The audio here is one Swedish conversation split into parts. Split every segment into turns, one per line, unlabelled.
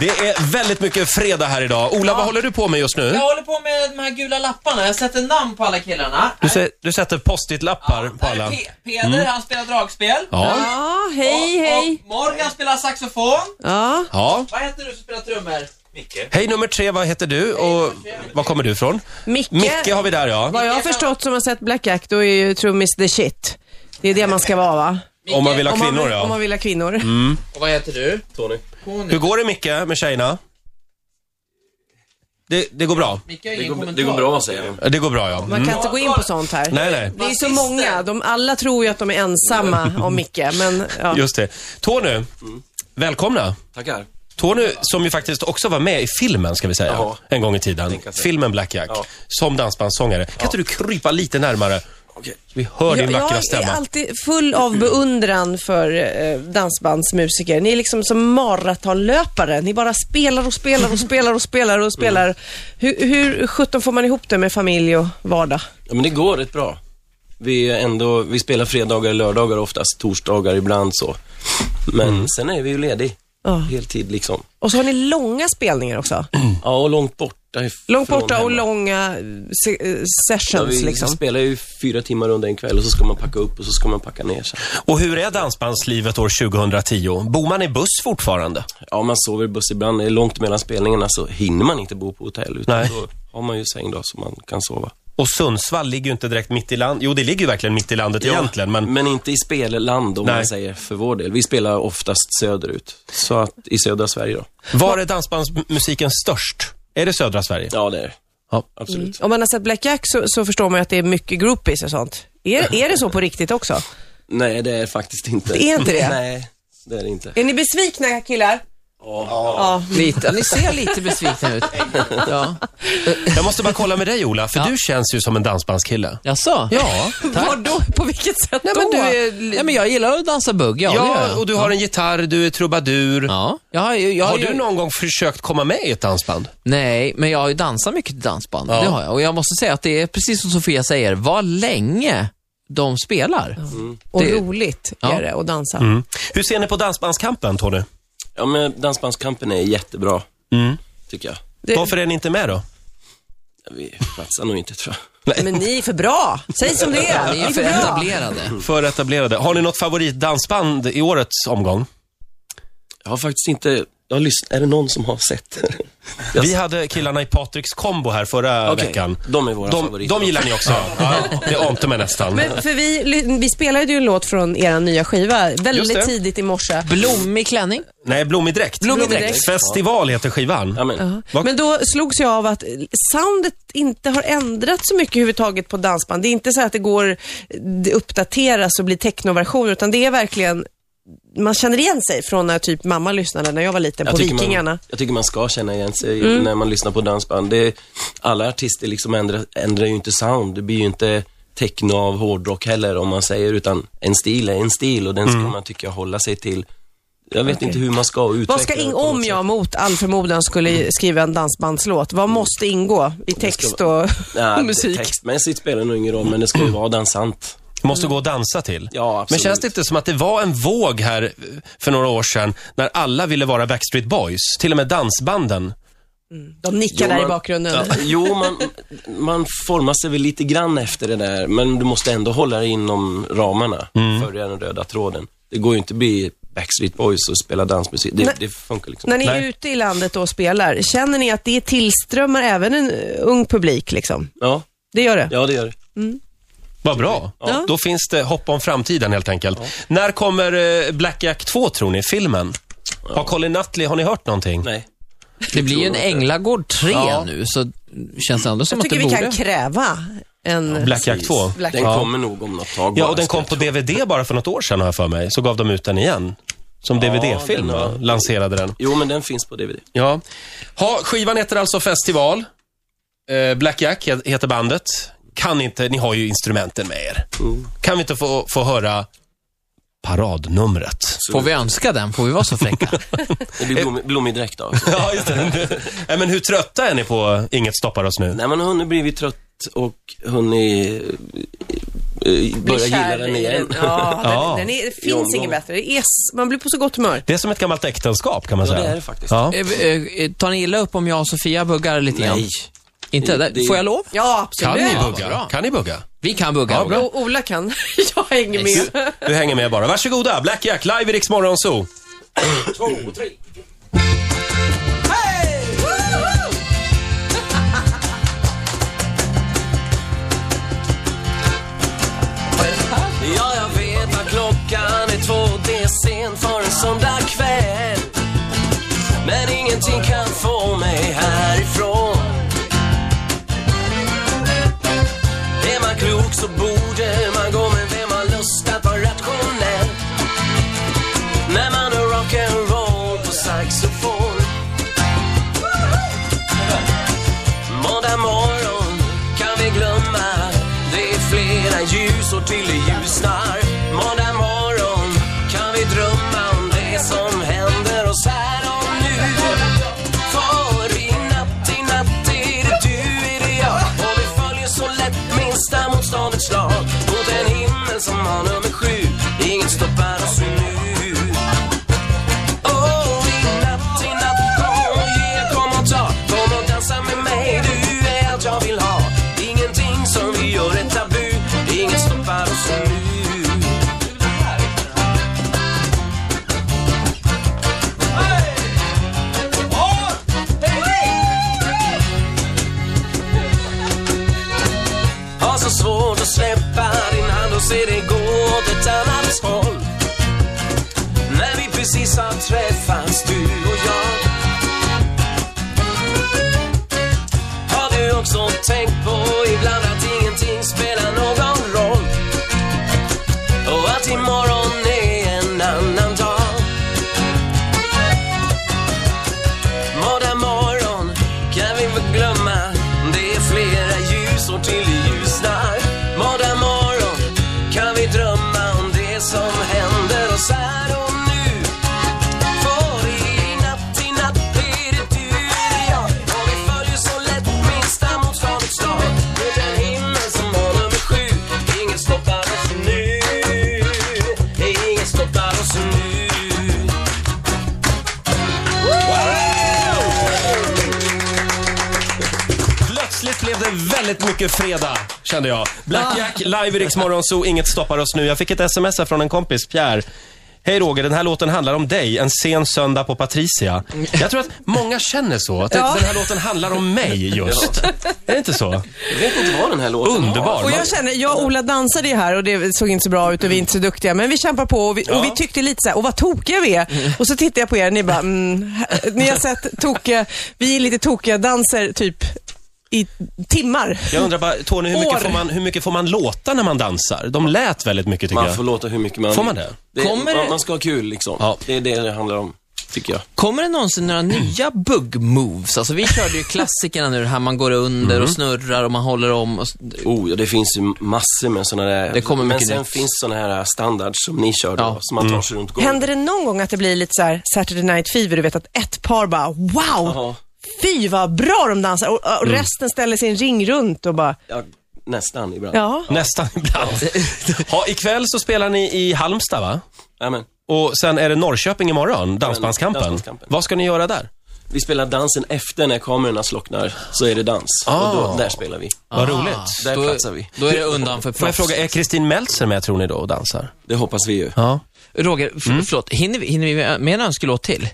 Det är väldigt mycket fredag här idag. Ola, vad håller du på med just nu?
Jag håller på med de här gula lapparna. Jag sätter namn på alla killarna.
Du, sä- du sätter post-it-lappar på
Här är
alla. Mm.
Pe- Peder, han spelar dragspel.
Ja,
Ja, hej
och,
hej.
Och Morgan spelar saxofon.
Ja,
ja.
Vad heter du som spelar trummor? Micke.
Hej nummer tre, vad heter du och var kommer du ifrån?
Micke.
Micke har vi där ja.
Vad jag har förstått som har sett Blackjack, då är ju trummis the shit. Det är det man ska vara va?
Om man vill ha
Om man,
kvinnor
vill- om man
ja. Mm.
vill ha kvinnor.
Och vad heter du? Tony. Tony.
Hur går det Micke med tjejerna? Det, det går bra.
Micke har ingen kommentar.
Det går bra säger han.
Det går bra ja. Mm.
Man kan inte gå in på sånt här.
Nej, nej.
Det är så många, de alla tror ju att de är ensamma om Micke, men ja.
Just det. Tony,
Mm.
välkomna.
Tackar.
Tony, som ju faktiskt också var med i filmen, ska vi säga,
Jaha.
en gång i tiden.
Tänka sig.
Filmen Black Jack,
Ja.
som dansbandssångare. Kan inte du krypa lite närmare?
Okej.
Vi hör din vackra
jag, jag är
stämma.
alltid full av beundran för eh, dansbandsmusiker. Ni är liksom som maratonlöpare. Ni bara spelar och spelar och spelar och spelar och spelar. Hur, hur sjutton får man ihop det med familj och vardag?
Ja, men det går rätt bra. Vi, är ändå, vi spelar fredagar, lördagar oftast, torsdagar ibland så. Men sen är vi ju ledig.
Ja.
Heltid liksom.
Och så har ni långa spelningar också.
Ja, och långt borta ifrån
Långt borta
hemma.
och långa eh, se- eh,
Ja,
sessions
vi
liksom.
spelar ju fyra timmar under en kväll och så ska man packa upp och så ska man packa ner sig.
Och hur är dansbandslivet år 2010? Bor man i buss fortfarande?
Ja, man sover i buss ibland. Det är långt mellan spelningarna så hinner man inte bo på hotell. Utan
Nej.
då har man ju säng då så man kan sova.
Och Sundsvall ligger ju inte direkt mitt i landet. Jo, det ligger ju verkligen mitt i landet egentligen, men...
men inte i spelland om
Nej.
man säger för vår del. Vi spelar oftast söderut. Så att i södra Sverige då.
Var är dansbandsmusiken störst? Är det södra Sverige?
Ja, det är det.
Ja.
Absolut.
Om man har sett Blackjack så, så förstår man ju att det är mycket groupies och sånt. Är, är det så på riktigt också?
Nej, det är faktiskt inte.
Det är inte det?
Nej, det är det inte.
Är ni besvikna killar? Ja.
Lite, ni ser lite besvikna ut. Ja.
Jag måste bara kolla med dig, Ola, för du känns ju som en dansbandskille.
Jaså?
Ja.
Vadå? På vilket sätt
Nej,
då?
men du är... Nej, men jag gillar att dansa bugg, ja, det gör
Ja,
jag.
och du har en gitarr, du är trubadur.
Ja. Jag har, ju- jag,
Har
ju-
du någon gång försökt komma med i ett dansband?
Nej, men jag har ju dansat mycket till dansband.
Ja.
Det har jag. Och jag måste säga att det är precis som Sofia säger, vad länge de spelar.
Och
Det-
roligt
Ja. Mm.
är det att dansa.
Hur ser ni på Dansbandskampen, Tony?
Ja, men Dansbandskampen är jättebra,
Mm.
tycker jag.
Det-
Varför är ni inte med då?
Vi platsar nog inte, tror jag.
Men ni är för bra. Säg som det är.
Ni är ju för etablerade.
För etablerade. Har ni något favoritdansband i årets omgång?
Jag har faktiskt inte... Jag har lyssnat. Är det någon som har sett? Jag-
Vi hade killarna i Patriks kombo här förra
Okej,
veckan.
de är våra
De,
favoriter.
de gillar ni också? ja, det ante mig nästan.
Men för vi, ly- vi spelade ju en låt från er nya skiva
Just det.
väldigt tidigt i morse.
Blommig klänning.
Nej, Blommig dräkt.
Blommig dräkt.
Festival heter skivan.
Ja, men,
Vad-
Men då slogs jag av att soundet inte har ändrats så mycket överhuvudtaget på dansband. Det är inte så här att det går, det uppdateras och blir technoversion, utan det är verkligen, man känner igen sig från när typ mamma lyssnade när jag var liten på
tycker
Vikingarna. Mm.
Man, jag tycker man ska känna igen sig när man lyssnar på dansband. Det, alla artister liksom ändrar, ändrar ju inte sound. Det blir ju inte techno av hårdrock heller om man säger, utan en stil är en stil och den ska man tycka hålla sig till. Jag vet inte hur man ska utveckla
Vad ska
det
in,
på något
om
sätt.
jag mot all förmodan skulle skriva en dansbandslåt,
Mm.
vad måste ingå i text och,
Nej,
och musik?
Textmässigt spelar det nog ingen roll, men det ska ju vara dansant.
Måste gå och dansa till.
Ja, absolut.
Men känns det inte som att det var en våg här för några år sedan när alla ville vara Backstreet Boys? Till och med dansbanden.
De nickar
Jo,
där i
man-
bakgrunden.
Ja, jo, man, man formar sig väl lite grann efter det där, men du måste ändå hålla dig inom ramarna.
Mm.
Följa den röda tråden. Det går ju inte att bli Backstreet Boys och spela dansmusik. Det, det funkar liksom
När ni är
Nej.
ute i landet och spelar, känner ni att det tillströmmar även en eh, ung publik? Liksom?
Ja,
Det gör det?
ja det gör det.
Vad bra.
Ja.
Då finns det hopp om framtiden helt enkelt. När kommer eh, Black Jack 2 tror ni, filmen? Har Colin Nutley, har ni hört någonting?
Nej.
Det blir ju en Änglagård 3
Ja.
nu, så känns det ändå som
Jag
att det
tycker vi
borde...
kan kräva en...
Black Jack 2?
Black-
Den
Ja.
kommer nog om något tag.
Ja,
bara,
och den
ska
kom
jag
på
tro.
DVD bara för något år sedan har jag för mig. Så gav de ut den igen. Som DVD-film,
den
va?
var-
Lanserade den.
Jo, men den finns på DVD.
Ja. Ha, skivan heter alltså Festival. Eh, Black Jack he- heter bandet. Kan inte, ni har ju instrumenten med er. Kan vi inte få, få höra paradnumret?
Får vi önska den? Får vi vara så fräcka?
Det blir blommig, blommig dräkt då. alltså.
Ja, just det. Nej, men hur trötta är ni på Inget stoppar oss nu?
Nej, man har hunnit blivit trött och hunnit eh, börja eh, gilla
kär
den
i
igen.
den. Ja, den,
Ja.
Den är, det
I
finns
omgång.
inget bättre. Det är, s- man blir på så gott humör.
Det är som ett gammalt äktenskap kan man
Ja,
säga.
det är det faktiskt.
Ja.
Eh, eh, Tar ni illa upp om jag och Sofia buggar lite grann?
Nej.
Inte?
Det- det-
Får jag lov?
Ja,
Kan
absolut.
ni
Ja,
bugga?
bra.
Kan ni bugga?
Vi kan bugga.
Ja,
Roger.
bra.
O- Ola kan. Jag hänger med.
Du hänger med bara. Varsågoda, Black Jack live i Rix Morgon Zoo.
Ja, jag vet att klockan är två, det är sent för en söndagkväll. Men ingenting kan få mig härifrån. Är man klok så borde man gå med vem man lust att vara rationell. När man har rock'n'roll på saxofon. Måndag morgon kan vi glömma Det är flera ljus och till det ljusnar Måndag morgon kan vi drömma om det som händer oss här och nu För i natt, i natt är det du, är det jag Och vi följer så lätt minsta motståndets lag Mot en himmel som har nummer sju Inget stoppar oss nu Oh, i natt, i natt, oh yeah, kom och ta, kom och dansa med mig, du är allt jag vill ha. Ingenting som vi gör är tabu, inget stoppar oss nu. Har så svårt att släppa din hand och se dig gå åt ett annat håll. När vi precis har träffats du och jag Har du också tänkt på ibland att ingenting spelar någon roll Och att imorgon är en annan dag Måndag morgon kan vi väl glömma Det är flera ljusår till det ljusnar Måndag morgon kan vi drömma om det som händer oss här och nu För i natt, i natt är det du, är det jag Och vi följer så lätt minsta motståndets lag Mot en himmel som har nummer sju Inget stoppar oss nu Inget stoppar oss nu
Plötsligt blev det väldigt mycket fredag, kände jag. Black Jack live i Rix Morgon Zoo. Inget stoppar oss nu. Jag fick ett sms här från en kompis, Pierre. Hej Roger, den här låten handlar om dig, en sen söndag på Patricia. Jag tror att många känner så, att den här låten handlar om mig just. Är det inte så?
Jag vet inte vad den här låten
Underbar.
Och jag känner, jag och Ola dansade ju här och det såg inte så bra ut och vi är inte så duktiga. Men vi kämpar på och vi, och vi tyckte lite så här, och vad tokiga vi är.
Mm.
Och så tittade jag på er och ni bara, mm, här- ni har sett tokiga, vi är lite tokiga danser typ i timmar.
Jag undrar bara, Tony, hur
År.
mycket, får man, hur mycket får man låta när man dansar? De lät väldigt mycket tycker
Man får
jag.
låta hur mycket man
Får man det?
Kommer
man,
det-
man ska ha kul liksom.
Ja.
Det är det det handlar om, tycker jag.
Kommer det någonsin några nya bug moves? Alltså vi körde ju klassikerna nu, det här man går under och snurrar och man håller om och... s-
Oh, ja, det finns ju massor med sådana där.
Det kommer
Men
mycket
sen
nytt.
finns sådana här standards som ni kör då,
Ja.
som man tar
Mm.
sig runt golvet.
Händer det någon gång att det blir lite så här Saturday Night Fever, du vet att ett par bara, wow,
Ja,
fy vad bra de dansar. Och, och
Mm.
resten ställer sin ring runt och bara,
ja, nästan ibland.
ja.
Nästan ibland. Ja, ikväll så spelar ni i Halmstad va?
Jajamän.
Och sen är det Norrköping imorgon, Dansbandskampen.
Dansbandskampen.
Vad ska ni göra där?
Vi spelar dansen efter när kamerorna slocknar, så är det dans. Och
Ah.
då, där spelar vi.
Vad
Ah.
roligt.
Där
Ah, då,
platsar vi.
Då är det undan för
Får jag
proffs.
fråga, är Kristin Meltzer med tror ni då och dansar?
Det hoppas vi ju.
Ja.
Roger, f- förlåt, hinner vi, hinner vi med- med en önskelåt till?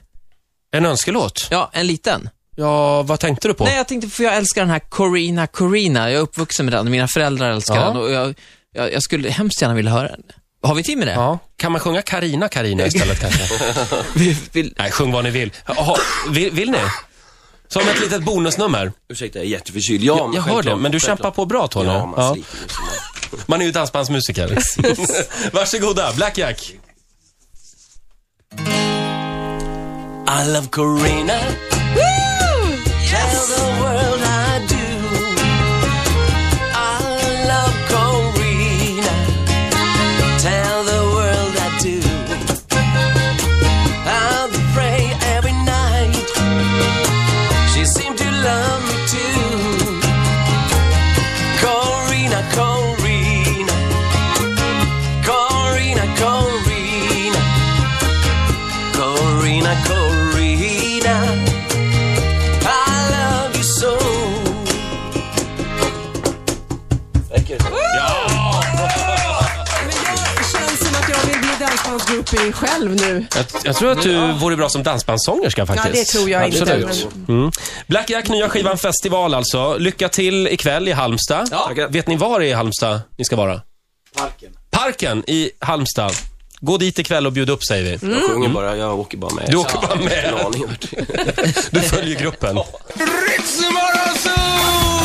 En önskelåt?
Ja, en liten.
Ja, vad tänkte du på?
Nej, jag tänkte, för jag älskar den här Corina Corina. Jag är uppvuxen med den, mina föräldrar älskar
Ja.
den och jag, jag, jag skulle hemskt gärna vilja höra den. Har vi tid med det?
Ja. Kan man sjunga Karina Karina istället kanske?
Vi, vill,
Nej, sjung vad ni vill. Jaha, vill, vill ni? Som ett litet bonusnummer.
Ursäkta, jag är jätteförkyld. Ja, men
Jag hör
självklart,
det, men du
självklart.
kämpar på bra Tony.
Ja, man
Ja.
sliter ju så.
Man är ju dansbandsmusiker. Varsågoda, Black Jack.
I love Corina. Woo! Tell the world I do. I love Corina. Tell the world I do. I pray every night. She seemed to love me too. Corina, Corina.
now. I love you so.
Thank you.
Men jag känns som att jag vill bli dansbandsgroupie själv nu.
Jag, jag tror att du vore bra som dansbandssångerska faktiskt.
Ja, det tror jag inte,
Absolut. Mm. Black Jack, nya skivan Festival alltså. Lycka till ikväll i Halmstad.
Tackar.
Vet ni var i Halmstad ni ska vara?
Parken.
Parken i Halmstad. Gå dit ikväll och bjud upp säger vi.
Jag sjunger bara, jag åker bara med.
Mm. Du åker bara
Jag har
med.
ingen aning vart.
Du följer gruppen.
Ritzmorgonzoo!